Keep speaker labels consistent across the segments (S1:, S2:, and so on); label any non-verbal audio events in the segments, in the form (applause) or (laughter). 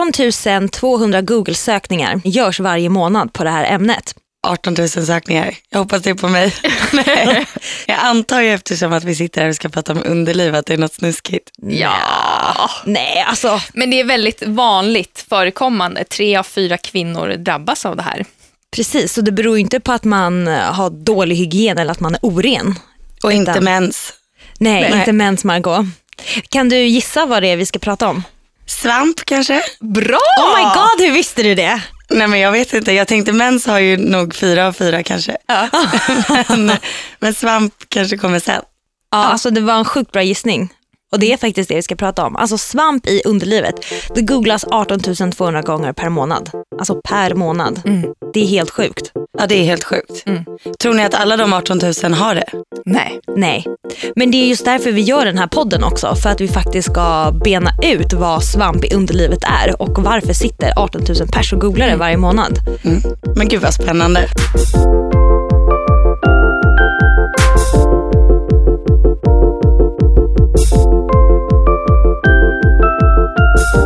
S1: 18 200 Google-sökningar görs varje månad på det här ämnet.
S2: 18 000 sökningar. Jag hoppas det är på (laughs) mig. Nej. jag antar ju eftersom att vi sitter här och ska prata om underliv att det är något snuskigt.
S1: Ja. Nej, alltså.
S3: Men det är väldigt vanligt förekommande. Tre av fyra kvinnor drabbas av det här.
S1: Precis, så det beror ju inte på att man eh, har dålig hygien eller att man är oren.
S2: Och inte mens.
S1: Nej,
S2: Nej.
S1: inte mens Margot. Kan du gissa vad det är vi ska prata om?
S2: Svamp kanske?
S3: Bra!
S1: Oh my god, hur visste du det?
S2: Nej men jag vet inte. Jag tänkte mens har ju nog fyra av fyra kanske. (laughs) men, men svamp kanske kommer sen.
S1: Ja, alltså det var en sjukt bra gissning. Och det är faktiskt det vi ska prata om. Alltså svamp i underlivet. Det googlas 18 200 gånger per månad. Alltså per månad. Det är helt sjukt.
S2: Ja det är helt sjukt. Mm. Tror ni att alla de 18 000 har det?
S3: Nej.
S1: Nej. Men det är just därför vi gör den här podden också. För att vi faktiskt ska bena ut vad svamp i underlivet är och varför sitter 18 000 pers och googlar det varje månad.
S2: Men gud vad spännande.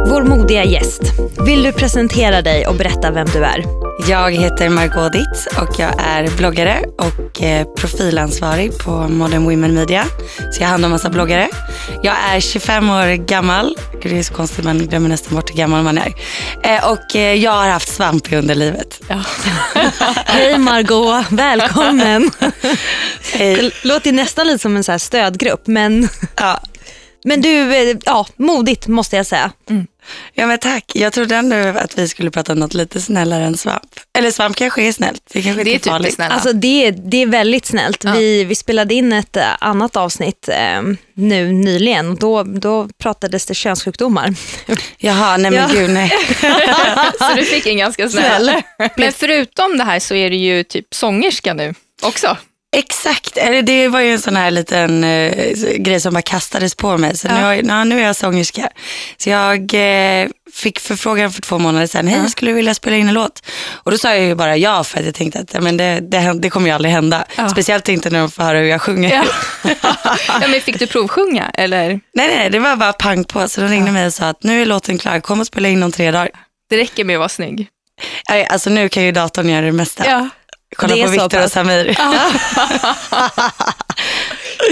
S1: Vår modiga gäst, vill du presentera dig och berätta vem du är?
S2: Jag heter Margot Dietz och jag är bloggare och eh, profilansvarig på Modern Women Media. Så jag har hand om massa bloggare. Jag är 25 år gammal. Gud, det är så konstigt, man glömmer nästan bort hur gammal man är. Eh, Och eh, jag har haft svamp i underlivet.
S1: Hej Margot, välkommen.
S2: Hej.
S1: Låter nästan lite som en så här stödgrupp men
S2: Ja.
S1: Men du, eh, ja, modigt måste jag säga.
S2: ja, men tack. Jag trodde ändå att vi skulle prata om något lite snällare än svamp. Eller svamp kanske är snällt. Det kanske
S3: Det är
S2: inte är
S3: typiskt
S2: farligt.
S3: snälla.
S1: Alltså det, är- det är väldigt snällt. Vi, vi spelade in ett eh, annat avsnitt eh, nu nyligen. Då, då pratades det könssjukdomar.
S2: Jaha, nej men
S1: Ja.
S2: gud nej.
S3: så du fick en ganska snäll. Men förutom det här så är du ju typ sångerska nu också.
S2: Exakt, eller det var ju en sån här liten eh, grej som bara kastades på mig. Så nu, har, jag- ja, nu är jag sångerska. Så jag eh, fick förfrågan för två månader sedan, hej skulle du vilja spela in en låt? Och då sa jag ju bara ja för att jag tänkte att ja, men det, det, hän- det kommer ju aldrig hända. Speciellt inte när de får höra hur jag sjunger.
S3: Ja. (laughs) ja, men fick du provsjunga eller?
S2: Nej, nej, det var bara pang på. Så de ringde mig och sa att nu är låten klar, kom och spela in om tre dagar.
S3: Det räcker med att vara snygg.
S2: Nej, Alltså nu kan ju datorn göra det mesta. Kolla
S1: Det är så
S2: på Victor och
S1: pass.
S2: Samir.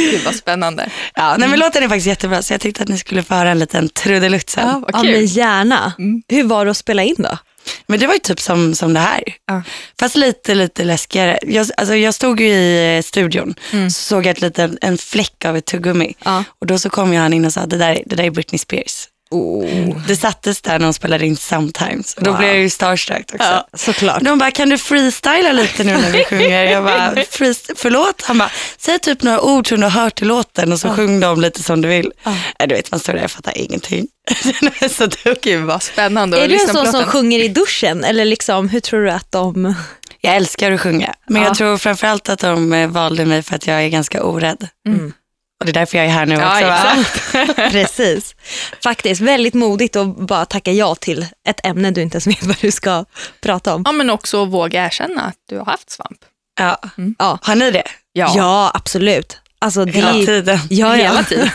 S3: Gud vad spännande.
S2: Ja, nej, men låten är faktiskt jättebra så jag tänkte att ni skulle få höra en liten trudelutt sen.
S3: Ja,
S1: Ja,
S3: vad
S1: men
S3: kul.
S1: gärna.
S3: Mm.
S1: Hur var det att spela in då?
S2: Men det var ju typ som, som det här. Fast lite, lite läskigare. Jag, alltså jag stod ju i eh, studion så såg jag ett litet, en fläck av ett tuggummi.
S1: Ja.
S2: Och då så kom ju han in och sa, det där, det där är Britney Spears. Det sattes där när hon spelade in Sometimes. Och Oh. Då blev jag ju starstruck också.
S1: Såklart.
S2: De bara, kan du freestyla lite nu (laughs) när vi sjunger? Jag bara, "Freest- förlåt? Han bara, säg typ några ord som du har hört i låten och så sjung dem lite som du vill. Ja. Du vet, man står där och fattar ingenting. (laughs) så dum.
S3: Gud vad spännande
S1: Är
S3: att
S1: du en
S3: lyssna på
S1: sån som
S3: låten.
S1: sjunger i duschen eller liksom, hur tror du att
S3: (laughs)
S1: de...
S2: Jag älskar att sjunga, men jag tror framförallt att de eh, valde mig för att jag är ganska orädd.
S1: Mm.
S2: Och det är därför jag är här nu också.
S3: Mm. Ja,
S2: va?
S3: exakt.
S1: Precis. Faktiskt väldigt modigt att bara tacka ja till ett ämne du inte ens vet vad du ska prata om.
S3: Ja, men också våga erkänna att du har haft svamp.
S2: Ja.
S1: Ja.
S2: Har ni det?
S1: Ja, absolut. Alltså, det...
S2: Hela tiden.
S1: Ja, ja.
S3: Hela tiden.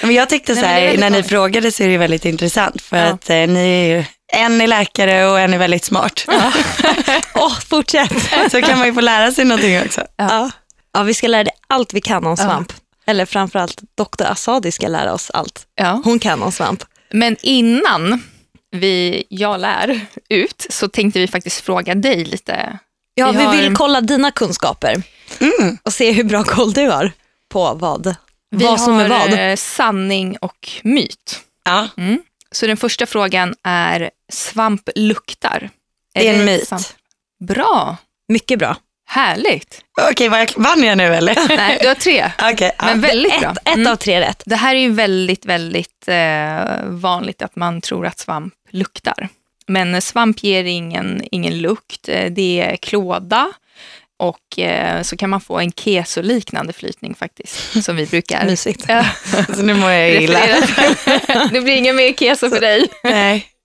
S2: Men jag tyckte så
S3: men det är
S2: här,
S3: väldigt
S2: när ni
S3: vanligt.
S2: frågade så är det väldigt intressant för
S3: Ja.
S2: att eh, ni är ju, en är läkare och en är väldigt smart.
S1: (laughs) Åh, fortsätt.
S2: (laughs) så kan man ju få lära sig någonting också.
S1: Ja. ja, vi ska lära dig allt vi kan om svamp. Eller framförallt Dr. Asadi ska lära oss allt.
S3: Ja.
S1: Hon kan om svamp.
S3: Men innan vi, jag lär ut så tänkte vi faktiskt fråga dig lite.
S1: Ja,
S3: Vi
S1: vi,
S3: har-
S1: vill kolla dina kunskaper och se hur bra koll du har på vad,
S3: Vi
S1: vad som
S3: har
S1: är vad.
S3: eh, sanning och myt.
S2: Ja.
S3: Så den första frågan är svamp luktar.
S2: Det är en myt.
S3: Bra,
S1: Mycket bra.
S3: härligt.
S2: Okej, var jag, vann jag nu
S3: (laughs)
S2: eller?
S3: Nej, du
S1: (laughs)
S3: har tre,
S2: Okej, ja.
S3: men väldigt bra.
S1: Ett, ett av tre rätt.
S3: Det här är ju väldigt, väldigt eh, vanligt att man tror att svamp luktar. Men svamp ger ingen, ingen lukt. Eh, Det är klåda och eh, så kan man få en keso-liknande flytning faktiskt, som vi (laughs) brukar.
S1: Mysigt.
S3: Ja,
S2: så nu mår jag illa.
S3: referera (laughs) till. det blir ingen mer keso för dig.
S2: Nej.
S3: (laughs)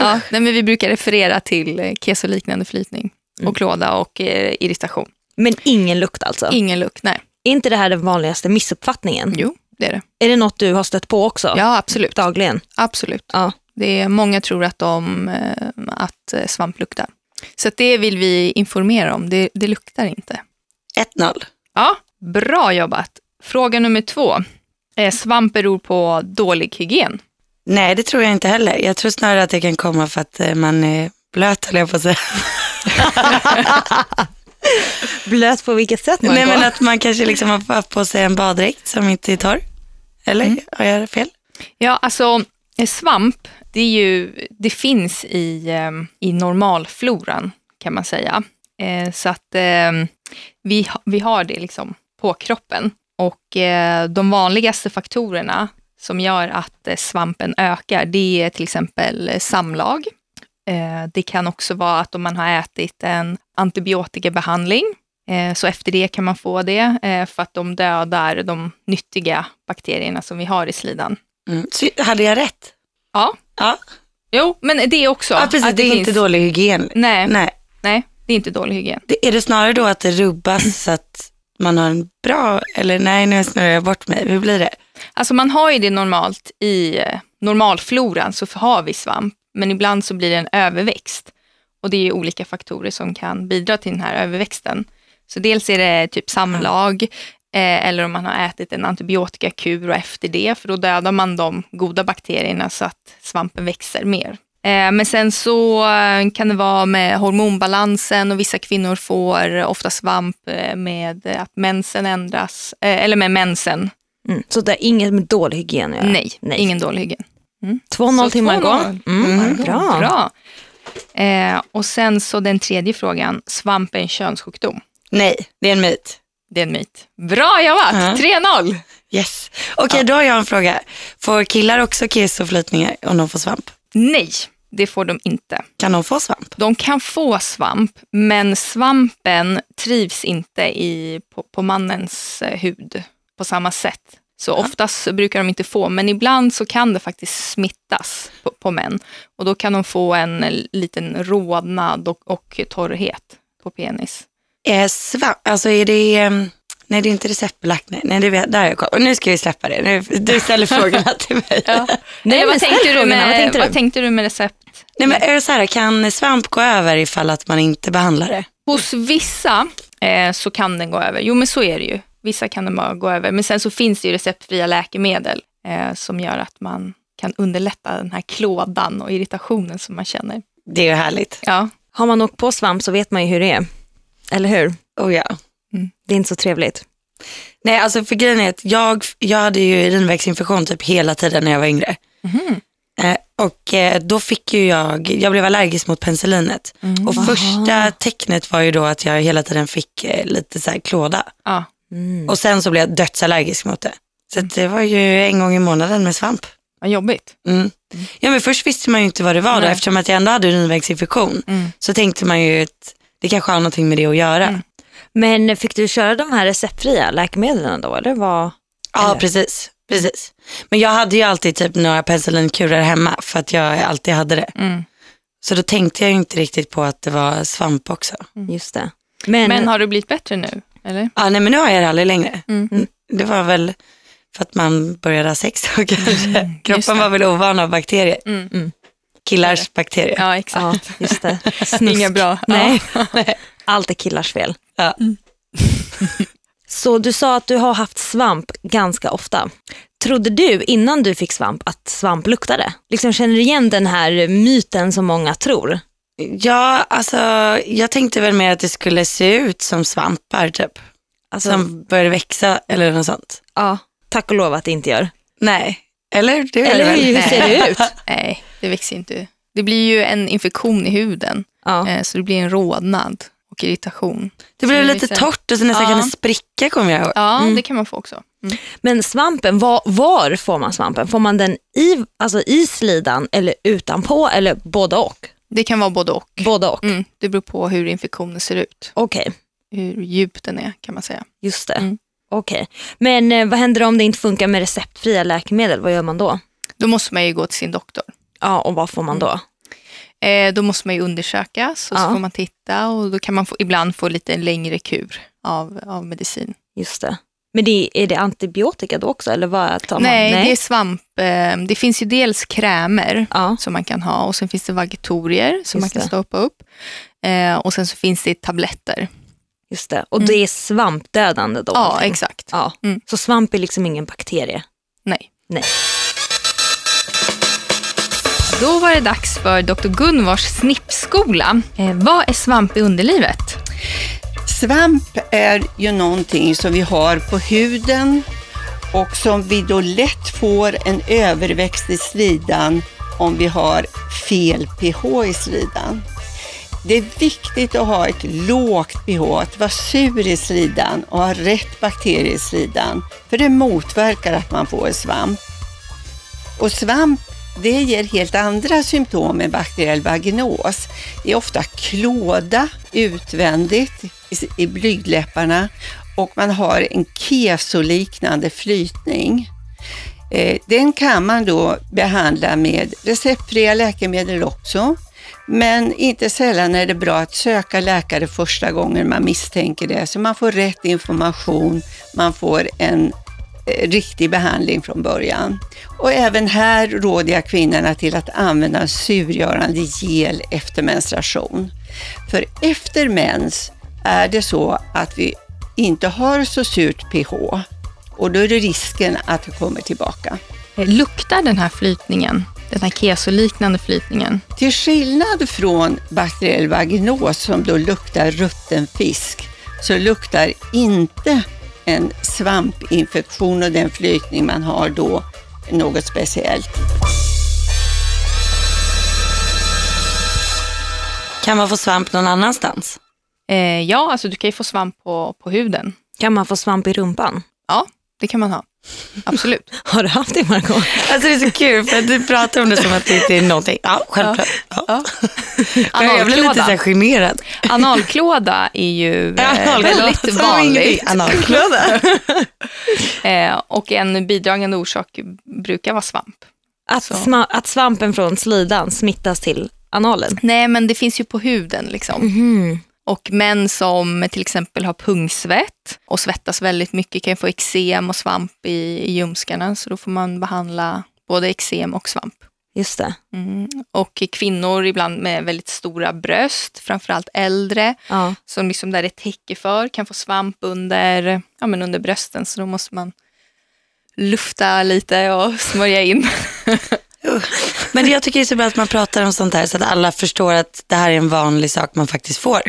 S3: Ja, nej, men vi brukar referera till eh, keso-liknande flytning och klåda och eh, irritation.
S1: Men ingen lukt alltså.
S3: Ingen lukt, nej.
S1: är inte det här den vanligaste missuppfattningen?
S3: Jo, det är det.
S1: Är det något du har stött på också?
S3: Mm. Ja, absolut.
S1: Dagligen?
S3: absolut.
S1: Ja.
S3: Det är, många tror att, de, eh, att eh, svamp luktar. Så att det vill vi informera om. Det, det luktar inte.
S2: 1-0.
S3: Ja, bra jobbat. Fråga nummer två. Eh, svamp beror på dålig hygien.
S2: Nej, det tror jag inte heller. Jag tror snarare att det kan komma för att eh, man är blöt, höll jag på att säga.
S1: Blöt på vilket sätt man
S2: Nej,
S1: går.
S2: men att man kanske liksom har haft på sig en baddräkt som inte är torr. Eller har jag fel?
S3: Ja, alltså eh, svamp, det, är ju, det finns i, eh, i normalfloran kan man säga. Eh, Så att eh, vi, ha- vi har det liksom på kroppen. Och eh, de vanligaste faktorerna som gör att eh, svampen ökar, det är till exempel eh, samlag. Eh, Det kan också vara att om man har ätit en antibiotikabehandling, eh, så efter det kan man få det, eh, för att de dödar de nyttiga bakterierna som vi har i slidan.
S2: Mm. Så, hade jag rätt?
S3: Ja.
S2: Ja,
S3: Jo, men det också.
S2: ja precis.
S3: att
S2: Det är
S3: finns-
S2: inte dålig hygien.
S3: Nej, nej.
S2: Nej.
S3: det är inte dålig hygien.
S2: Det, är det snarare då att det rubbas så att man har en bra, eller nej nu snurrar jag bort mig, hur blir det?
S3: Alltså man har ju det normalt i eh, normalfloran så har vi svamp, men ibland så blir det en överväxt. Och det är ju olika faktorer som kan bidra till den här överväxten. Så dels är det typ samlag, eh, eller om man har ätit en antibiotikakur och efter det, för då dödar man de goda bakterierna så att svampen växer mer. Eh, Men sen så eh, kan det vara med hormonbalansen och vissa kvinnor får ofta svamp eh, med att mensen ändras, eh, eller med mensen.
S1: Mm. Så det är inget med dålig hygien att göra.
S3: Nej,
S1: Nej.
S3: ingen dålig hygien.
S1: 2-0
S3: Så
S1: till Margot.
S3: 2-0.
S1: Mm, Bra.
S3: Bra. Eh, och sen så den tredje frågan, svamp är en könssjukdom.
S2: Nej, det är en myt.
S3: Det är en myt. Bra jobbat,
S2: Ja.
S3: 3-0.
S2: Yes. Okej, då har jag en fråga. Får killar också kiss och flytningar om de får svamp?
S3: Nej, det får de inte.
S2: Kan de få svamp?
S3: De kan få svamp, men svampen trivs inte i, på, på mannens eh, hud på samma sätt. Så oftast så brukar de inte få, men ibland så kan det faktiskt smittas på, på män. Och då kan de få en eh, liten rodnad och, och torrhet på penis.
S2: Eh, svamp, alltså är det... ehm, nej, det är inte receptbelagt. Nej, nej det vet, där har jag koll. Och nu ska vi släppa det. Nu, du ställer frågorna till mig.
S1: Nej,
S3: Eller
S1: men
S3: vad,
S1: ställ
S3: tänkte du
S1: frågorna,
S3: med,
S1: vad tänkte du?
S3: med recept?
S2: Nej, men är det så här, kan svamp gå över ifall att man inte behandlar det?
S3: Hos vissa eh, så kan den gå över. Jo, men så är det ju. Vissa kan den bara gå över. Men sen så finns det ju receptfria läkemedel eh, som gör att man kan underlätta den här klådan och irritationen som man känner.
S2: Det är ju härligt.
S3: Ja,
S1: Har man åkt på svamp så vet man ju hur det är. Eller hur?
S2: Oh, ja.
S1: Det är inte så trevligt.
S2: Nej, alltså för grejen är att jag, jag hade ju urinvägsinfektion typ hela tiden när jag var yngre. Eh, och eh, då fick ju jag, jag blev allergisk mot penicillinet. Och första tecknet var ju då att jag hela tiden fick eh, lite så här klåda.
S3: ja.
S1: Mm.
S2: Och sen så blev jag dödsallergisk mot det. Så att det var ju en gång i månaden med svamp.
S3: vad jobbigt.
S2: Mm. Ja men först visste man ju inte vad det var då,
S3: Nej.
S2: eftersom att jag ändå hade urinvägsinfektion.
S3: Mm.
S2: Så tänkte man ju att det kanske har någonting med det att göra.
S1: Men fick du köra de här receptfria läkemedlen då? Eller vad?
S2: Ja,
S1: Eller?
S2: precis. precis. Men jag hade ju alltid typ några penicillinkurer hemma för att jag alltid hade det.
S3: Mm.
S2: Så då tänkte jag ju inte riktigt på att det var svamp också.
S1: Just det. Men,
S3: Men har du blivit bättre nu? Eller?
S2: Ja, nej men nu har jag det aldrig längre.
S3: Mm.
S2: Det var väl för att man började ha sex då (laughs) kanske. Kroppen
S3: Mm, det.
S2: var väl ovan av bakterier.
S3: Mm.
S1: Mm.
S2: Killars bakterier.
S3: Ja, exakt.
S1: ja, just det. Snusk.
S3: Inga bra. Ja.
S1: (laughs) Nej. Allt är killars fel. Mm.
S2: Ja.
S1: (laughs) Så du sa att du har haft svamp ganska ofta. Trodde du innan du fick svamp att svamp luktade? Liksom känner du igen den här myten som många tror?
S2: Ja, alltså jag tänkte väl mer att det skulle se ut som svampar typ.
S1: Alltså,
S2: Som började växa eller något sånt.
S1: ja, tack och lov att det inte gör.
S2: Nej, eller det gör det
S1: Eller
S2: väl?
S1: hur, hur
S3: Nej.
S1: ser det ut?
S3: Nej, det växer inte. Det blir ju en infektion i huden,
S1: Ja.
S3: eh, så det blir en rodnad och irritation.
S2: Det blev
S3: Som
S2: lite
S3: växer.
S2: torrt och så nästan
S3: Ja.
S2: kan det spricka kommer jag ihåg.
S3: Ja, det kan man få också. Mm.
S1: Men svampen, var, var får man svampen? Får man den i, alltså i slidan eller utanpå eller både och?
S3: Det kan vara både och.
S1: Både och.
S3: Mm, det beror på hur infektionen ser ut,
S1: Okej,
S3: hur djup den är kan man säga.
S1: just det.
S3: Mm.
S1: Okej. Men eh, vad händer om det inte funkar med receptfria läkemedel? Vad gör man då?
S3: Då måste man ju gå till sin doktor.
S1: Ja, och vad får
S3: Mm.
S1: man då?
S3: Eh, då måste man ju undersökas och
S1: Ja.
S3: så får man titta och då kan man få, ibland få lite längre kur av, av medicin.
S1: Just det. Men det, är det antibiotika då också eller vad tar man?
S3: Nej, det är svamp. eh, Det finns ju dels krämer
S1: Ja.
S3: som man kan ha och sen finns det vagetorier som
S1: Just
S3: man kan
S1: det.
S3: stoppa upp. Eh, Och sen så finns det tabletter.
S1: Just det. Och det är svampdödande då?
S3: Mm. Ja,
S1: allting?
S3: exakt.
S1: Ja.
S3: Mm.
S1: Så svamp är liksom ingen bakterie?
S3: Nej.
S1: Nej.
S3: Då var det dags för Dr. Gunvars snippskola. Eh, vad är svamp i underlivet?
S4: Svamp är ju någonting som vi har på huden och som vi då lätt får en överväxt i slidan om vi har fel pH i slidan. Det är viktigt att ha ett lågt pH, att vara sur i slidan och ha rätt bakterier i slidan. För det motverkar att man får svamp. Och svamp, det ger helt andra symptom än bakteriell vaginos. Det är ofta klåda utvändigt i- i blygdläpparna och man har en kesoliknande flytning. Eh, Den kan man då behandla med receptfria läkemedel också. Men inte sällan är det bra att söka läkare första gången man misstänker det, så man får rätt information, man får en eh, riktig behandling från början. Och även här råder jag kvinnorna till att använda en surgörande gel efter menstruation. För efter mens är det så att vi inte har så surt pH och då är det risken att det kommer tillbaka.
S3: Eh, luktar den här flytningen, den här kesoliknande flytningen?
S4: Till skillnad från bakteriell vaginos som då luktar rutten fisk så luktar inte en svampinfektion och den flytning man har då något speciellt.
S2: Kan man få svamp någon annanstans?
S3: Eh, ja, alltså du kan ju få svamp på, på huden.
S1: Kan man få svamp i rumpan?
S3: Ja, det kan man ha. Absolut.
S1: Har du haft det Margot?
S2: (laughs) Alltså det är så kul för att du pratar om det som att det inte är
S3: (laughs)
S2: någonting. Ja, självklart. Ja. Jag blir lite så här
S3: Analklåda.
S2: generad.
S3: Analklåda
S2: (laughs)
S3: är ju eh,
S2: Analklåda,
S3: väldigt
S2: som ingenting.
S3: vanligt.
S2: Analklåda.
S3: Eh, och en bidragande orsak brukar vara svamp.
S1: Att,
S3: Så.
S1: sma- att svampen från slidan smittas till analen?
S3: Nej, men det finns ju på huden. liksom.
S1: Mm. Mm-hmm.
S3: Och män som till exempel har pungsvett och svettas väldigt mycket kan ju få eksem och svamp i, i ljumskarna. Så då får man behandla både eksem och svamp.
S1: Just det.
S3: Mm. Och kvinnor ibland med väldigt stora bröst, framförallt äldre,
S1: Ja.
S3: som liksom där det täcker för kan få svamp under, ja, men under brösten. Så då måste man lufta lite och (laughs) smörja in.
S2: Men det jag tycker det är så bra att man pratar om sånt här så att alla förstår att det här är en vanlig sak man faktiskt får.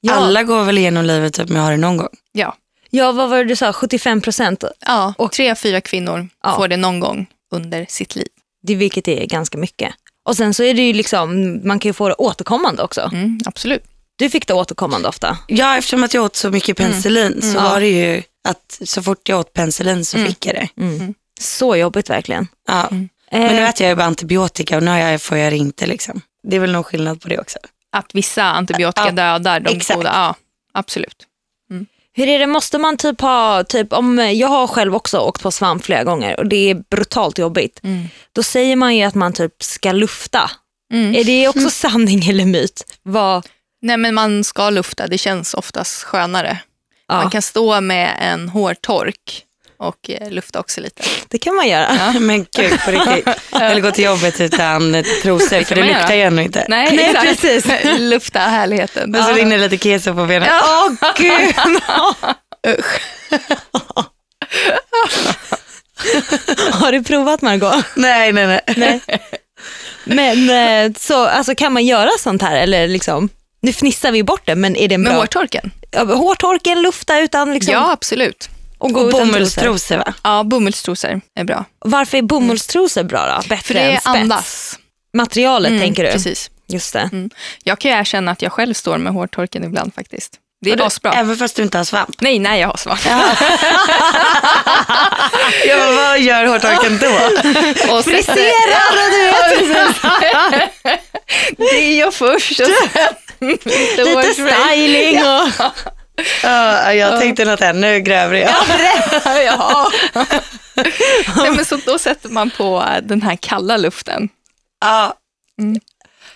S1: Ja.
S2: Alla går väl igenom livet typ med har det någon gång.
S3: Ja,
S1: ja, vad var det du sa? 75 procent?
S3: ja. och tre av fyra kvinnor
S1: Ja.
S3: får det någon gång under sitt liv.
S1: Det, vilket är ganska mycket. Och sen så är det ju liksom, man kan ju få det återkommande också.
S3: Mm, absolut.
S1: Du fick det återkommande ofta.
S2: Ja, eftersom att jag åt så mycket penicillin så var det ju att så fort jag åt penicillin så fick jag det.
S1: Så jobbigt verkligen.
S2: Ja.
S1: Eh,
S2: Men nu äter jag ju bara antibiotika och nu har jag, får jag det inte liksom. Det är väl någon skillnad på det också.
S3: Att vissa antibiotika
S2: Ja,
S3: dödar de
S2: exakt.
S3: goda. Ja, absolut.
S1: Hur är det, måste man typ ha, typ om, jag har själv också åkt på svamp flera gånger och det är brutalt jobbigt. Då säger man ju att man typ ska lufta.
S3: Mm.
S1: Är det också sanning eller myt? Vad,
S3: Nej, men man ska lufta. Det känns oftast skönare.
S1: ja,
S3: Man kan stå med en hårtork och eh, lufta också lite.
S1: Det kan man göra.
S2: (laughs) Men gud på riktigt. Eller gå till jobbet utan eh, trosor för det
S3: man
S2: luktar
S3: göra.
S2: ju ändå inte.
S3: Nej, exakt.
S1: precis.
S3: (laughs) Lufta härligheten.
S2: Men så
S3: Ja.
S2: rinner lite keso på benen.
S1: Åh gud. (laughs) Har du provat Margot?
S2: Nej, nej, nej.
S1: Men eh, så, alltså, kan man göra sånt här eller liksom? Nu fnissar vi bort det men är det en
S3: Med
S1: bra?
S3: hårtorken?
S1: Ja, Hårtorken, lufta utan liksom?
S3: Ja, absolut.
S1: och gå
S2: Och
S1: utan trosor.
S2: bomullstrosor va?
S3: Ja, bomullstrosor är bra.
S1: Varför är bomullstrosor bra då? Bättre
S3: För det
S1: än spets?
S3: andas.
S1: Materialet
S3: Mm,
S1: tänker du?
S3: Precis.
S1: Just det.
S3: Mm. Jag kan ju erkänna att jag själv står med hårtorken ibland faktiskt. Det är asbra.
S2: Även fast du inte har svamp.
S3: Nej, nej, jag har svamp.
S2: Ja, vad gör hårtorken då?
S3: Och sätter-
S1: Friserad och du vet.
S3: (laughs) Det gör jag först och sen lite
S1: Lite
S3: hårspray.
S1: styling och...
S2: Ja, jag tänkte något ännu grövre. Ja. (laughs)
S3: ja. (laughs) Nej, men så då sätter man på den här kalla luften.
S2: Ja.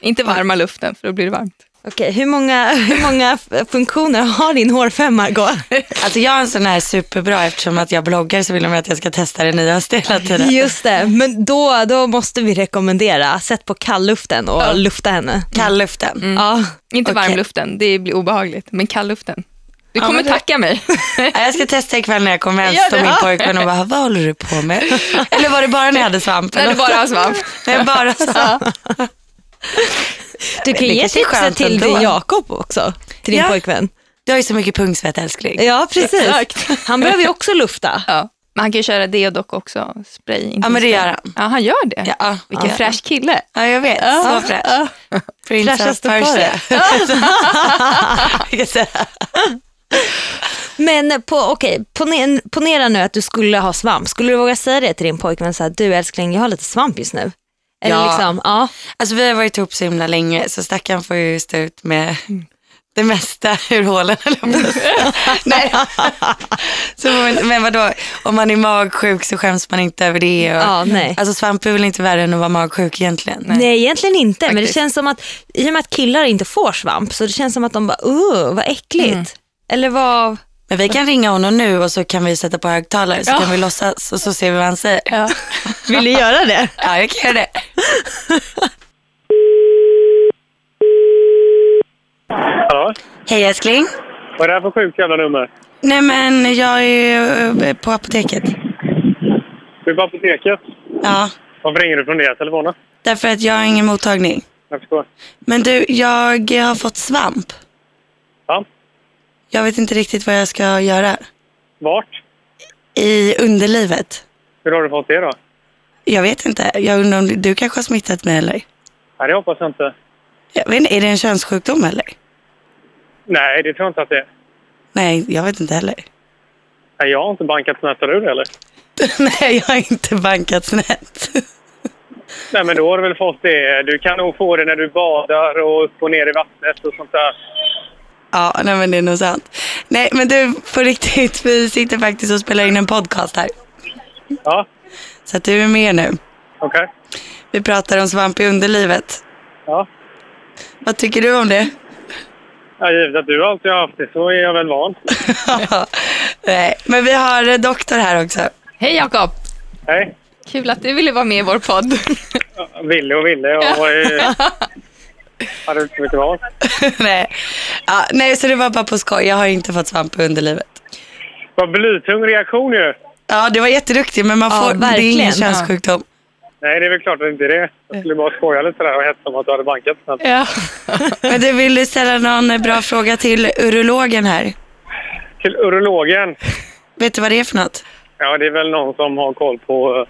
S3: Inte varma luften, för då blir det varmt.
S1: Okej, hur många, hur många f- funktioner har din hårfem Margot?
S2: Alltså jag är en sån här superbra eftersom att jag bloggar så vill de att jag ska testa det nyaste hela tiden.
S1: Just det, men då, då måste vi rekommendera, sätt på kallluften och lufta henne.
S2: Kalluften.
S1: Ja,
S3: Inte
S2: Okej.
S3: varmluften, det blir obehagligt, men kallluften. Du
S2: Ja,
S3: kommer
S2: men det- (laughs)
S3: tacka mig.
S2: Ja, Jag ska testa ikväll när jag kommer hem,
S3: Gör
S2: står
S3: det.
S2: min pojkvän och bara, vad håller du på med? Eller var det bara när jag hade svamp?
S3: När du bara
S2: (laughs)
S3: har svamp.
S2: Nej, bara svamp.
S1: du kan
S2: det
S1: ge
S2: kanske är
S1: tipset
S2: skönt
S1: till
S2: ändå.
S1: din Jakob också, till din
S2: Ja.
S1: pojkvän.
S2: Du har ju så mycket pungsvett älskling.
S1: Ja, precis.
S3: Exakt.
S1: Han behöver ju också lufta.
S3: Ja. Men han kan ju köra det och dock också, spray. inte
S2: Ja, men det
S3: spray.
S2: gör han.
S3: Ja, han gör det.
S2: Ja,
S3: Vilken
S2: ja.
S3: fräsch kille.
S2: Ja, jag vet. så fräsch. Prince of
S1: Fräschaste
S2: Persia.
S1: paret.
S2: (laughs)
S1: Men på, okay, ponera, ponera nu att du skulle ha svamp, skulle du våga säga det till din pojkvän? Så här, du älskling, jag har lite svamp just nu. Eller
S2: Ja.
S1: liksom, ja.
S2: Alltså vi har varit ihop så himla länge så stackaren får ju stå ut med det mesta ur hålen. höll jag på att
S1: (laughs)
S2: säga. Nej. (laughs) så, men- men vadå, om man är magsjuk så skäms man inte över det. Och,
S1: Ja, nej.
S2: Alltså svamp är väl inte värre än att vara magsjuk egentligen.
S1: Nej, egentligen inte, men det
S2: Faktiskt.
S1: känns som att i och med att killar inte får svamp så det känns som att de bara, uh, vad äckligt. Eller vad,
S2: Men vi kan ringa honom nu och så kan vi sätta på högtalare så kan vi låtsas och så ser vi vad han säger. Ja,
S1: vill du göra det?
S2: jag kan göra det.
S5: Hallå?
S2: Hej älskling.
S5: Vad är det här för sjukt jävla nummer?
S2: Nej men jag är ju eh, på apoteket.
S5: Du är på apoteket.
S2: Ja,
S5: Varför ringer du från deras telefoner?
S2: därför att jag har ingen mottagning.
S5: Jag förstår.
S2: Men du, jag har fått svamp.
S5: Ja.
S2: Jag vet inte riktigt vad jag ska göra.
S5: Vart?
S2: I underlivet.
S5: Hur har du fått det då?
S2: Jag vet inte. Jag undrar om du- du kanske har smittat mig eller?
S5: Nej, det hoppas jag inte.
S2: Jag vet inte, är det en könssjukdom eller?
S5: Nej, det tror jag inte att det är.
S2: Nej, jag vet inte heller. (laughs)
S5: Nej, jag har inte bankat snattar ur eller?
S2: Nej, jag har inte bankat snett. (laughs)
S5: Nej, men då har du väl fått det. Du kan nog få det när du badar och upp och ner i vattnet och sånt där.
S2: Ja, nej men det är nog sant. Nej men du, på riktigt, vi sitter faktiskt och spelar in en podcast här.
S5: Ja,
S2: Så att du är med nu.
S5: okej.
S2: Vi pratar om svamp i underlivet.
S5: Ja.
S2: Vad tycker du om det? (laughs)
S5: ja, givet att du alltid har haft det så är jag väl van.
S2: nej, men vi har eh, doktor här också. (laughs)
S3: Hej Jakob!
S5: Hej.
S3: Kul att du ville vara med i vår podd.
S5: Ville och ville. Jag var ju... hade inte så mycket val.
S2: nej. Ja, nej, så det var bara på skoj. Jag har inte fått svamp i underlivet.
S5: Vad blytung reaktion ju.
S2: Ja, du var jätteduktig men man
S1: Ja,
S2: får, det är ingen
S1: verkligen.
S2: könssjukdom.
S5: Nej, det är väl klart att det inte är det. Jag skulle bara skoja lite där och hetsa om att du hade bankat snabbt.
S3: (laughs) ja.
S2: Men du, vill du ställa någon eh, bra fråga till urologen här?
S5: Till urologen.
S2: Vet du vad det är för något?
S5: Ja, det är väl någon som har koll på eh,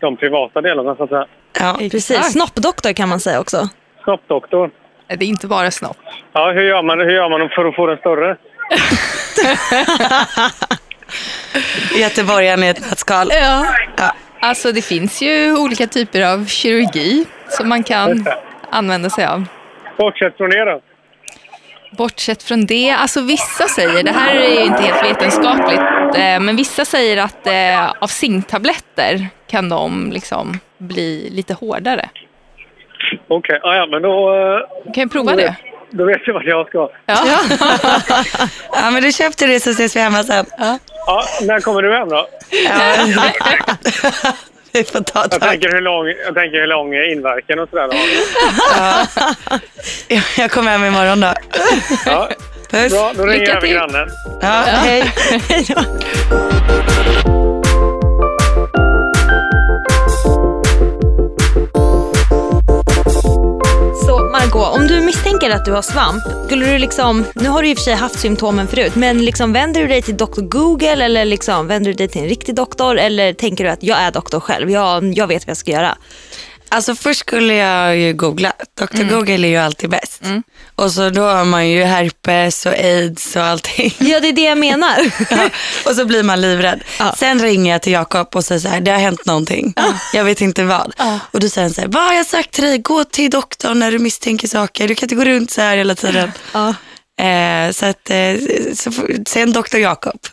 S5: de privata delarna så att säga.
S2: Ja.
S1: Precis, snoppdoktor kan man säga också.
S5: Snoppdoktor.
S3: Det är inte bara snopp.
S5: Ja, hur gör man, hur gör man för att få den större?
S2: Göteborgaren i ett nötskal.
S3: Ja.
S2: Ja.
S3: Alltså det finns ju olika typer av kirurgi som man kan använda sig av.
S5: Bortsett från det då.
S3: Bortsett från det, alltså vissa säger, det här är ju inte helt vetenskapligt, eh, men vissa säger att eh, av zinktabletter kan de liksom bli lite hårdare.
S5: Okej, ja, ja, men då, eh,
S3: Du kan ju prova det.
S5: då vet jag vad jag ska.
S3: Ja.
S2: Ja, men du köpte det så ses vi hemma sen.
S5: Ja, när kommer du hem då?
S2: Ja. vi får ta
S5: Jag
S2: tag.
S5: tänker hur lång, jag tänker hur lång är inverkan och sådär. då.
S2: Jag kommer hem imorgon då.
S3: (laughs)
S5: Ja,
S2: Puss.
S5: bra, då ringer
S3: Lycka
S5: jag över
S3: till.
S5: grannen.
S2: Ja, hej.
S1: Så Margot, om du misstänker att du har svamp, skulle du liksom, nu har du i och för sig haft symptomen förut, men liksom vänder du dig till doktor Google eller liksom vänder du dig till en riktig doktor eller tänker du att jag är doktor själv, jag, jag vet vad jag ska göra?
S2: Alltså först skulle jag ju googla. Dr Google är ju alltid bäst. Och så då har man ju herpes och aids och allting.
S1: Ja, det är det jag menar.
S2: Ja, (laughs) och så blir man livrädd. Sen ringer jag till Jakob och säger så här, det har hänt någonting. Jag vet inte vad. Och då säger han så här, vad har jag sagt till dig? Gå till doktorn när du misstänker saker. Du kan inte gå runt så här hela tiden.
S1: Ja.
S2: Eh, så att, eh, så, får- sen doktor Jakob. (laughs)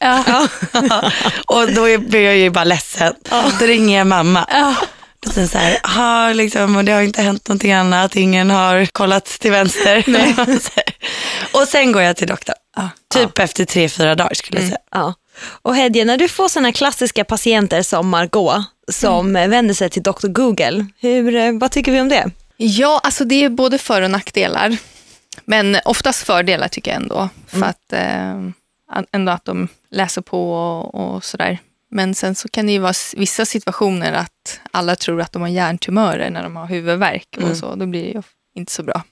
S2: och då är, blir jag ju bara ledsen. Då ringer jag mamma. Och sen så här, aha, liksom, och det har inte hänt någonting annat, ingen har kollat till vänster. (laughs) och sen går jag till doktorn, typ efter tre, fyra dagar skulle jag säga.
S1: Ja. Och Hedje, när du får sådana klassiska patienter som Margot som eh, vänder sig till Dr. Google, hur, eh, vad tycker vi om det?
S3: Ja, alltså det är både för och nackdelar. Men oftast fördelar tycker jag ändå. För att, eh, an- ändå att de läser på och, och sådär. Men sen så kan det ju vara s- vissa situationer att alla tror att de har hjärntumörer när de har huvudvärk och så. Då blir det ju inte så bra.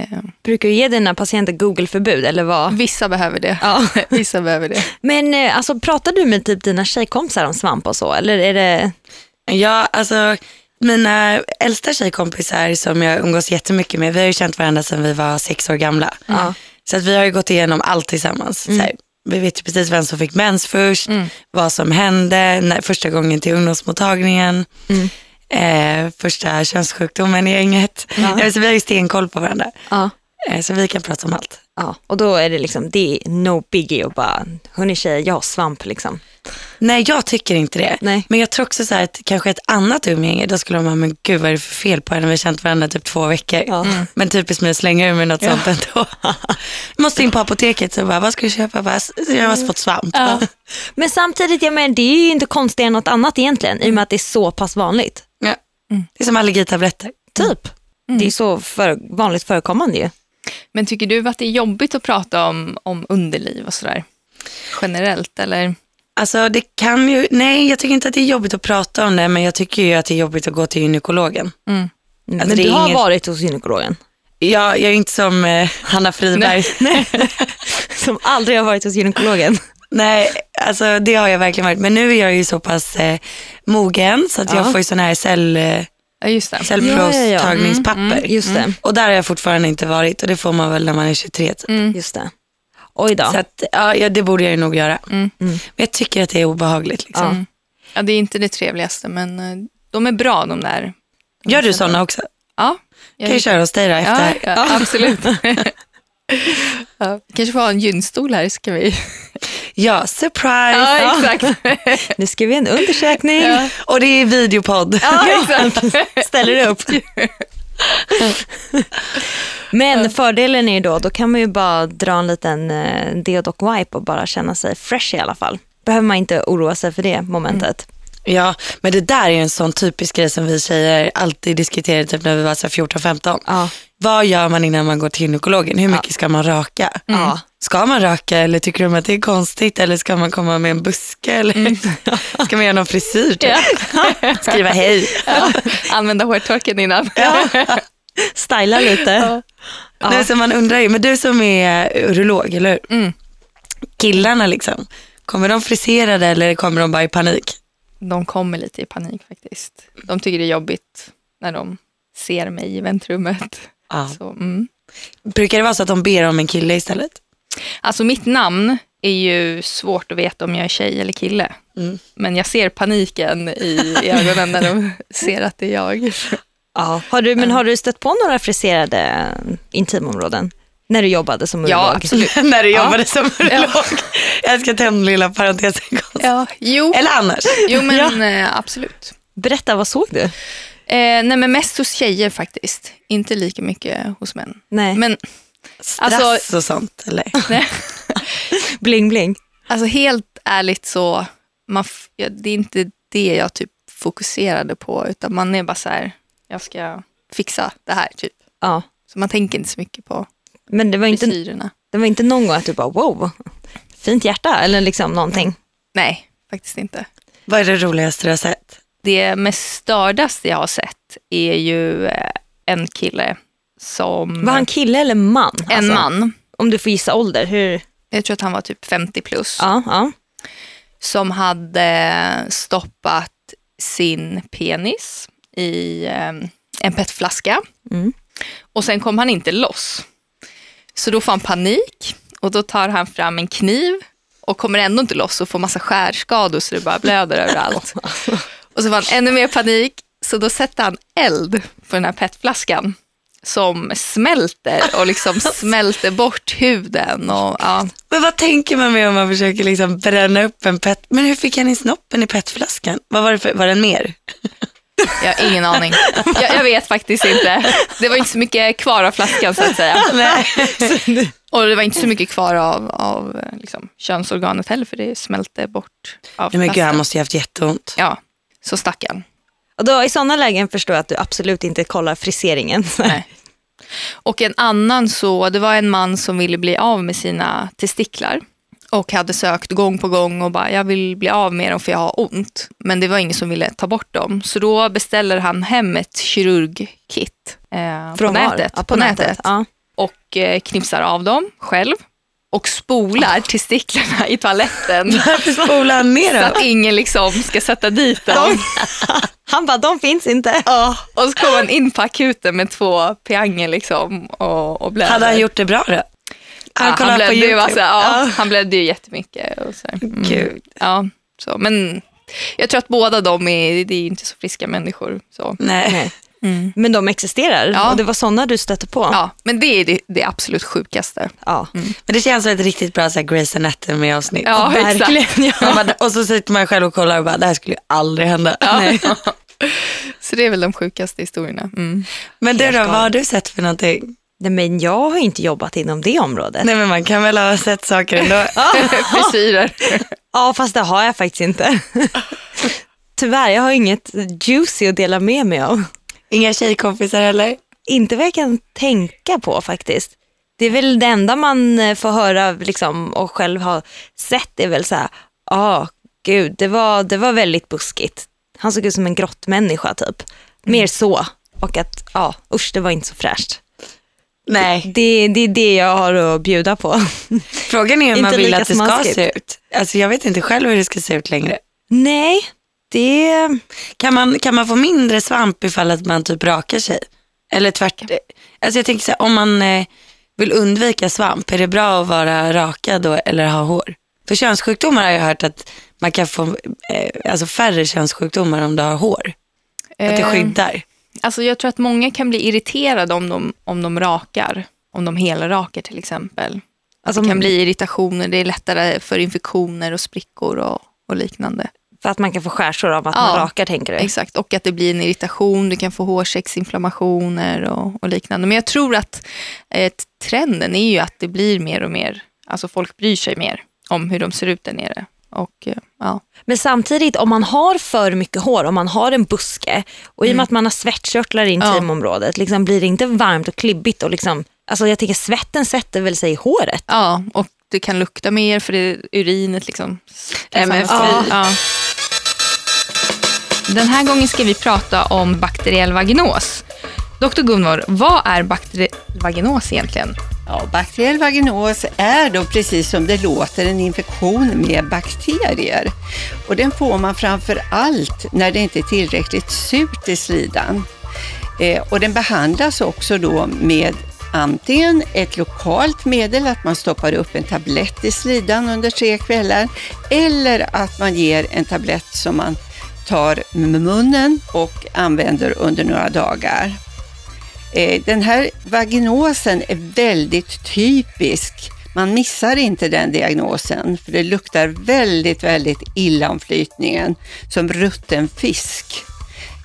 S3: Eh,
S1: Brukar du ge dina patienter Google-förbud eller vad?
S3: vissa behöver det.
S1: Ja.
S3: (laughs) vissa behöver det.
S1: Men eh, alltså, pratar du med typ dina tjejkompisar om svamp och så? Eller är det...
S2: Ja, alltså mina äldsta tjejkompisar som jag umgås jättemycket med, vi har ju känt varandra sedan vi var sex år gamla. Så att vi har ju gått igenom allt tillsammans. Så här, vi vet ju precis vem som fick mens först, vad som hände, när, första gången till ungdomsmottagningen, eh, första könssjukdomen i gänget. (laughs) Ja. Så vi har ju stenkoll på varandra.
S1: Ja.
S2: Eh, så vi kan prata om allt.
S1: Ja, och då är det liksom, det är no biggie och bara, hörni tjejer, jag har svamp liksom.
S2: Nej, jag tycker inte det.
S1: Nej.
S2: Men jag tror också så här att kanske ett annat umgänge, då skulle de bara, men gud vad är det för fel på henne? Vi har känt varandra typ två veckor.
S1: Ja. Mm.
S2: Men typiskt mig att slänga ur mig något sånt ändå. (laughs) Måste in på apoteket, så bara, vad ska du köpa? Jag, bara, "S- jag
S1: Mm.
S2: har alltså fått svamp.
S1: Men samtidigt, jag menar, det är ju inte konstigare än något annat egentligen, i och med att det är så pass vanligt.
S2: Ja.
S1: Mm.
S2: Det är som allergitabletter.
S1: Typ. Det är så för, vanligt förekommande ju.
S3: Men tycker du att det är jobbigt att prata om, om underliv och sådär? Generellt eller?
S2: Alltså det kan ju, nej jag tycker inte att det är jobbigt att prata om det, men jag tycker ju att det är jobbigt att gå till gynekologen.
S1: Mm.
S2: Alltså,
S1: Men
S2: det är
S1: du har
S2: inget-
S1: varit hos gynekologen,
S2: Jag, jag är inte som eh, Hanna Friberg. Nej.
S1: (laughs) som aldrig har varit hos (laughs) gynekologen.
S2: Nej, alltså det har jag verkligen varit. Men nu är jag ju så pass eh, mogen så att
S1: Ja.
S2: jag får ju sådana här cell, eh,
S3: Ja, Mm, just det.
S2: cellprovstagningspapper.
S1: Mm, Just det,
S2: Och där har jag fortfarande inte varit och det får man väl när man är 23. Typ.
S3: Mm.
S1: just det. Oj då.
S2: Så att, ja, ja, det borde jag ju nog göra.
S3: Mm.
S2: Mm. Men jag tycker att det är obehagligt. Liksom.
S3: Ja, det är inte det trevligaste, men eh, de är bra de där.
S2: Gör du sådana också?
S3: Ja, jag-
S2: Kan jag köra hos dig då
S3: ja,
S2: efter?
S3: (laughs) ja absolut. ja, vi kanske får ha en gynstol här, så kan vi...
S2: Ja, surprise!
S3: Ja, (laughs) exakt.
S1: Nu ska vi ha en undersökning.
S2: Och det är videopodd. (laughs)
S3: Ja, exakt.
S1: Ställer du upp. Men fördelen är ju då, då kan man ju bara dra en liten eh, deodoc wipe och bara känna sig fresh i alla fall. Behöver man inte oroa sig för det momentet.
S2: Ja, men det där är ju en sån typisk grej som vi tjejer alltid diskuterade typ när vi var så här 14-15.
S1: Ja.
S2: Vad gör man innan man går till gynekologen? Hur mycket ska man röka?
S3: Mm.
S1: Ja.
S2: Ska man röka eller tycker de att det är konstigt eller ska man komma med en buske eller (laughs) ska man göra någon frisyr? Typ?
S3: (laughs)
S2: Skriva hej.
S3: Använda hårtorken innan.
S1: Styla
S3: (laughs)
S1: lite.
S2: Nej, så man undrar ju, men du som är urolog, eller hur? Killarna liksom, kommer de friserade eller kommer de bara i panik?
S3: De kommer lite i panik faktiskt. De tycker det är jobbigt när de ser mig i väntrummet.
S2: Ja.
S3: Så, mm.
S2: Brukar det vara så att de ber om en kille istället?
S3: Alltså mitt namn är ju svårt att veta om jag är tjej eller kille. Men jag ser paniken i i ögonen när (laughs) de ser att det är jag.
S1: Ja. Har du, men har du stött på några friserade eh, intimområden? När du jobbade som urolog?
S3: Ja,
S2: (laughs)
S3: absolut.
S2: när du jobbade som urolog. Jag älskar den lilla parentesen.
S3: Ja, jo.
S2: Eller annars.
S1: (laughs)
S3: jo, men eh, absolut.
S1: Berätta, vad såg du?
S3: Eh, nej, men mest hos tjejer faktiskt. Inte lika mycket hos män.
S1: Nej,
S3: Men
S2: Strass
S3: Alltså-
S2: och sånt. Eller?
S1: bling bling.
S3: alltså helt ärligt så, man, f- ja, det är inte det jag typ fokuserade på, utan man är bara så här, jag ska fixa det här typ.
S1: Ja.
S3: Så man tänker inte så mycket på
S1: Men det var, inte,
S3: frisyrerna.
S1: det var inte någon gång att du bara wow, fint hjärta eller liksom
S3: Mm.
S1: någonting.
S3: Nej, faktiskt inte.
S2: Vad är det roligaste du har sett?
S3: Det mest stördaste jag har sett är ju eh, en kille som...
S1: Var han kille eller man?
S3: en
S1: Alltså,
S3: man.
S1: Om du får gissa ålder. Hur?
S3: Jag tror att han var typ 50 plus.
S1: Ja, ja.
S3: som hade stoppat sin penis i eh, en petflaska.
S1: Mm.
S3: Och sen kom han inte loss. Så då får han panik och då tar han fram en kniv och kommer ändå inte loss och får massa skärskador så det bara blöder överallt. Och så får han ännu mer panik, så då sätter han eld på den här petflaskan som smälter och liksom smälter bort huden. Och, ja.
S2: Men vad tänker man med om man försöker liksom bränna upp en pet? Men hur fick han in snoppen i petflaskan? Vad var det för, var den mer?
S3: Jag har ingen aning. Jag, jag vet faktiskt inte. Det var inte så mycket kvar av flaskan så att säga.
S2: (laughs) Nej.
S3: Och det var inte så mycket kvar av, av eh, liksom, könsorganet heller för det smälte bort av
S2: Men gud,
S3: plasten.
S2: han måste ju haft jätteont.
S3: Ja, så stackarn.
S1: Och då, I sådana lägen förstår jag att du absolut inte kollar friseringen. (laughs)
S3: Nej. Och en annan så, det var en man som ville bli av med sina testiklar och hade sökt gång på gång och bara jag vill bli av med dem för jag har ont. Men det var ingen som ville ta bort dem. Så då beställer han hem ett kirurgkit eh, på
S1: Från var?
S3: nätet.
S1: Ja,
S3: på nätet.
S1: Ja.
S3: Och eh, knipsar av dem själv och spolar testiklarna i toaletten.
S2: Ah. (laughs) Varför spolar han ner
S3: Så
S2: dem?
S3: att ingen liksom ska sätta dit dem.
S1: De, han bara, de finns inte. (laughs)
S3: Och så kommer han in på akuten med två pianger liksom och, och blöder.
S2: Hade han gjort det bra då?
S3: Ja, han
S2: kollat
S3: blödde ju alltså, ja,
S2: Ja.
S3: han blödde ju jättemycket. Och så. här. Mm.
S2: Gud.
S3: Ja, så. Men jag tror att båda de är, det är ju inte så friska människor. Så.
S2: Nej.
S1: Men de existerar
S3: Mm. Ja.
S1: och det var sådana du stötte på.
S3: Ja, Mm. men det är det, det absolut sjukaste.
S1: Ja.
S2: Men det känns som ett riktigt bra så här, Grey's Anatomy-avsnitt.
S3: Ja, exakt.
S2: Man bara, och så sitter man själv och kollar och bara, det här skulle ju aldrig hända. Nej.
S3: (laughs) Så det är väl de sjukaste historierna. Mm.
S2: Men du då, vad har du sett för någonting?
S1: Nej, men jag har ju inte jobbat inom det området.
S2: Nej men man kan väl ha sett
S1: (laughs)
S2: saker ändå.
S3: Frisyrer.
S1: Ja, fast det har jag faktiskt
S3: (laughs)
S1: inte. Tyvärr, jag har inget juicy att dela med mig av.
S2: Inga tjejkompisar heller?
S1: Inte vad jag kan tänka på faktiskt. Det är väl det enda man eh, får höra liksom, och själv har sett är väl så här, ja gud, det var, det var väldigt buskigt. Han såg ut som en grottmänniska typ. Mer så. Och att, ja, usch det var inte så fräscht.
S2: Nej.
S1: Det, det är det jag har att bjuda på. (laughs)
S2: Frågan är hur man
S1: Inte
S2: vill
S1: lika
S2: att det ska
S1: smaskigt.
S2: se ut. Alltså jag vet inte själv hur det ska se ut längre.
S1: Nej, det...
S2: Kan man, kan man få mindre svamp ifall att man typ rakar sig? Eller tvärtom? Alltså jag tänker så här, om man eh, vill undvika svamp, är det bra att vara rakad då eller ha hår? För könssjukdomar har jag hört att man kan få eh, alltså färre könssjukdomar om du har hår. Att
S1: Eh.
S2: det skyddar.
S3: Alltså jag tror att många kan bli irriterade om de, om de rakar. Om de helrakar till exempel.
S1: Alltså,
S3: Det kan bli irritationer, det är lättare för infektioner och sprickor och, och liknande.
S1: För att man kan få skärsår av att
S3: Ja.
S1: man rakar tänker du?
S3: Exakt, och att det blir en irritation, du kan få hårsäcksinflammationer och, och liknande. Men jag tror att eh, trenden är ju att det blir mer och mer, alltså folk bryr sig mer om hur de ser ut där nere. Och, eh, ja.
S1: Men samtidigt om man har för mycket hår, om man har en buske och
S3: Mm.
S1: i och med att man har svettkörtlar i intimområdet, liksom, blir det inte varmt och klibbigt? Och liksom, alltså jag tänker svetten sätter väl sig i håret?
S3: ja, och det kan lukta mer för det, urinet liksom.
S2: Nej, men
S3: ja.
S2: fy.
S3: Ja. Den här gången ska vi prata om bakteriell vaginos. Dr Gunvor, vad är bakteriell vaginos egentligen?
S4: Ja, bakteriell vaginos är då precis som det låter en infektion med bakterier. Och den får man framför allt när det inte är tillräckligt surt i slidan. Eh, och den behandlas också då med antingen ett lokalt medel, att man stoppar upp en tablett i slidan under tre kvällar, eller att man ger en tablett som man tar med munnen och använder under några dagar. Eh, Den här vaginosen är väldigt typisk. Man missar inte den diagnosen, för det luktar väldigt, väldigt illa om flytningen, som rutten fisk.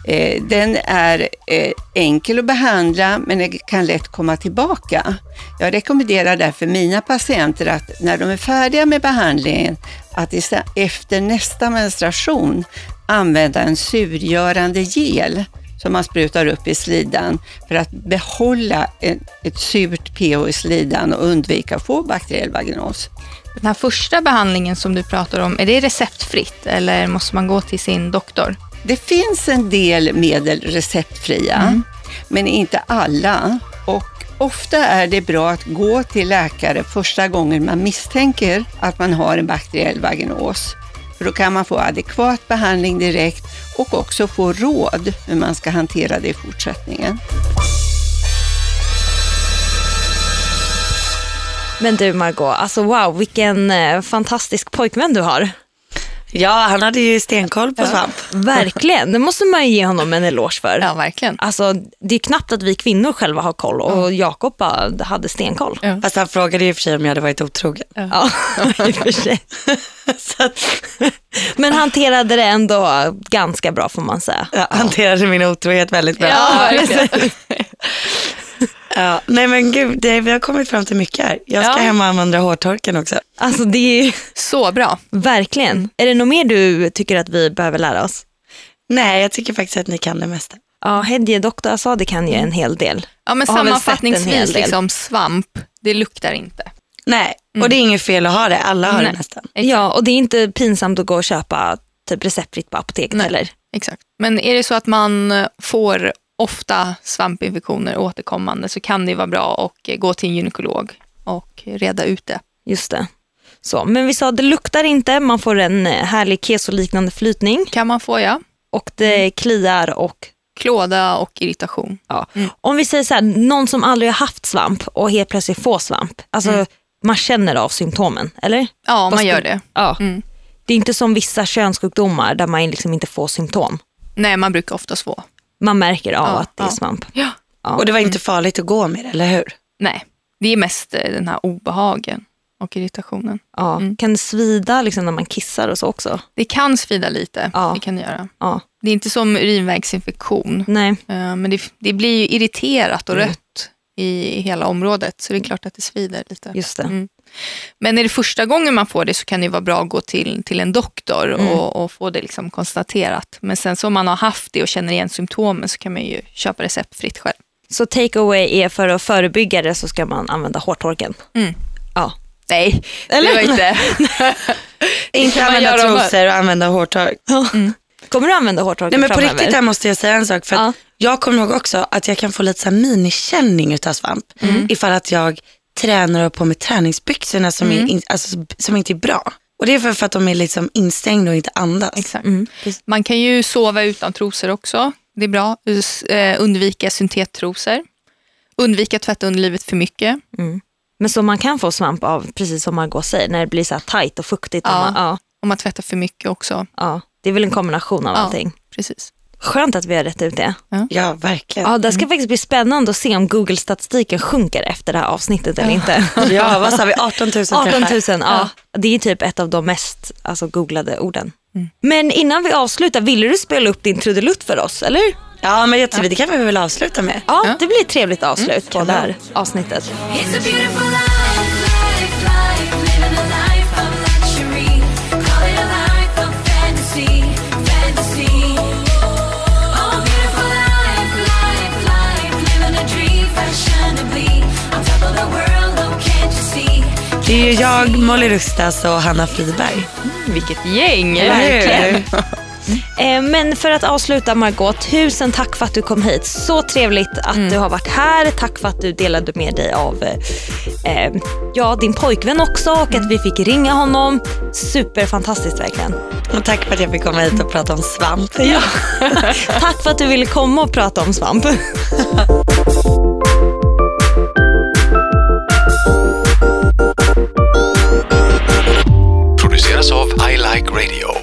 S4: Eh, Den är eh, enkel att behandla, men den kan lätt komma tillbaka. Jag rekommenderar därför mina patienter att när de är färdiga med behandlingen, att istä- efter nästa menstruation använda en surgörande gel som man sprutar upp i slidan för att behålla en, ett surt pH i slidan och undvika att få bakteriell vaginos.
S3: Den här första behandlingen som du pratar om, är det receptfritt eller måste man gå till sin doktor?
S4: Det finns en del medel receptfria, men inte alla. Och ofta är det bra att gå till läkare första gången man misstänker att man har en bakteriell vaginos. För då kan man få adekvat behandling direkt och också få råd hur man ska hantera det i fortsättningen.
S1: Men du Margot, alltså wow vilken eh, fantastisk pojkvän du har.
S2: Ja, han hade ju stenkoll på svamp.
S1: Verkligen, det måste man ju ge honom en eloge för.
S3: Ja, verkligen.
S1: Alltså, det är knappt att vi kvinnor själva har koll och Jakob bara hade stenkoll.
S3: Ja.
S2: Fast han frågade ju i och för sig om jag hade varit otrogen.
S1: Ja, i och för
S3: (laughs)
S1: sig. Så att, men hanterade det ändå ganska bra får man säga.
S2: Ja, hanterade min otrohet väldigt bra.
S3: Ja, verkligen.
S2: Ja, nej men gud, det, vi har kommit fram till mycket här. Jag ska
S3: Ja.
S2: hem och använda hårtorken också.
S1: Alltså det är ju
S3: Så bra.
S1: verkligen. Är det något mer du tycker att vi behöver lära oss?
S2: Nej, jag tycker faktiskt att ni kan det mesta.
S1: Ja, Hedje doktor jag sa det kan ju en hel del.
S3: Ja, men
S1: Och har väl sett en hel
S3: sammanfattningsvis,
S1: del.
S3: liksom, svamp, det luktar inte.
S2: Nej, och det är inget fel att ha det. Alla har
S3: Mm. Nej.
S2: det nästan.
S3: Exakt.
S1: Ja, och det är inte pinsamt att gå och köpa typ receptfritt på apoteket
S3: Nej.
S1: heller.
S3: Exakt. Men är det så att man eh, får ofta svampinfektioner återkommande så kan det vara bra att eh, gå till en gynekolog och reda ut det.
S1: Just det. Så, men vi sa det luktar inte, man får en eh, härlig keso-liknande flytning
S3: kan man få, ja.
S1: och det kliar och
S3: Klåda och irritation.
S1: Ja. Om vi säger så här, någon som aldrig har haft svamp och helt plötsligt får svamp. Alltså, Man känner av symptomen, eller?
S3: Ja,
S1: Fast
S3: man gör
S1: det-
S3: det.
S1: Ja.
S3: Mm.
S1: Det är inte som vissa könssjukdomar där man liksom inte får symptom.
S3: Nej, man brukar oftast få.
S1: Man märker av
S3: Ja,
S1: att det är
S3: ja.
S1: svamp.
S3: Ja.
S1: Ja.
S2: Och det var
S3: Mm.
S2: inte farligt att gå med det, eller hur?
S3: Nej, det är mest eh, den här obehagen och irritationen.
S1: Ja.
S3: Mm.
S1: Kan det svida liksom när man kissar och så också?
S3: Det kan svida lite,
S1: Ja. Mm.
S3: det kan det göra.
S1: Ja.
S3: Det är inte som urinvägsinfektion,
S1: Nej.
S3: eh, men det, det blir ju irriterat
S1: Mm.
S3: och rött i hela området, så det är klart att det svider lite.
S1: Just det.
S3: Mm. Men är det första gången man får det så kan det ju vara bra att gå till, till en doktor
S1: Mm.
S3: och, och få det liksom konstaterat. Men sen så om man har haft det och känner igen symptomen så kan man ju köpa receptfritt själv.
S1: Så take away är för att förebygga det så ska man använda hårtorken.
S3: Mm.
S1: Ja.
S3: Nej,
S1: Eller?
S3: det var inte...
S2: Inte
S3: kan man
S2: använda
S3: göra om-
S2: trosor och använda hårtork.
S1: (laughs) Kommer du använda hårtorken
S2: Nej men på
S1: framöver?
S2: riktigt där måste jag säga en sak. För att
S1: Ja.
S2: Jag kommer ihåg också att jag kan få lite så här minikänning utav svamp. Ifall att jag tränar och har på mig träningsbyxorna som, är in, alltså, som inte är bra. Och det är för, för att de är liksom instängda och inte andas.
S3: Exakt.
S1: Mm,
S3: Man kan ju sova utan trosor också. Det är bra. Us- eh, Undvika syntettrosor. Undvika tvätta underlivet för mycket.
S1: Men så man kan få svamp av, precis som Margot säger, när det blir så här tajt och fuktigt. och
S3: Ja.
S1: Man, ja,
S3: Om man tvättar för mycket också.
S1: ja. Det är väl en kombination av
S3: Ja.
S1: allting.
S3: Precis.
S1: Skönt att vi har rätt ut det.
S2: Ja, verkligen.
S1: Ja, det
S3: Mm.
S1: ska faktiskt bli spännande att se om Google-statistiken sjunker efter det här avsnittet eller
S3: (laughs)
S1: inte.
S2: Ja, vad sa vi? 18
S1: (laughs)
S2: 000 träffar.
S1: 18 000, ja. Det är typ ett av de mest alltså, googlade orden. Men innan vi avslutar, ville du spela upp din trudelutt för oss, eller?
S2: Ja, men jag tror det kan vi väl avsluta med.
S1: Ja, Mm. det blir ett trevligt avslut på det här avsnittet.
S6: It's a beautiful life, life, life, living a life of luxury. Call it a life of fantasy, fantasy. Oh, beautiful life, life, life, living a dream fashionably. On top of the world, oh, can't you see?
S2: Det är ju jag, Molly Rustas och Hanna Friberg.
S3: Vilket gäng!
S2: Verkligen.
S1: Eh, Men för att avsluta Margot, tusen tack för att du kom hit. Så trevligt att
S2: Mm.
S1: du har varit här. Tack för att du delade med dig av eh, eh, ja, din pojkvän också och
S2: Mm.
S1: att vi fick ringa honom. Superfantastiskt verkligen.
S2: Och tack för att jag fick komma hit och prata om svamp.
S1: Ja. (laughs) Tack för att du ville komma och prata om svamp.
S7: produceras av I Like Radio.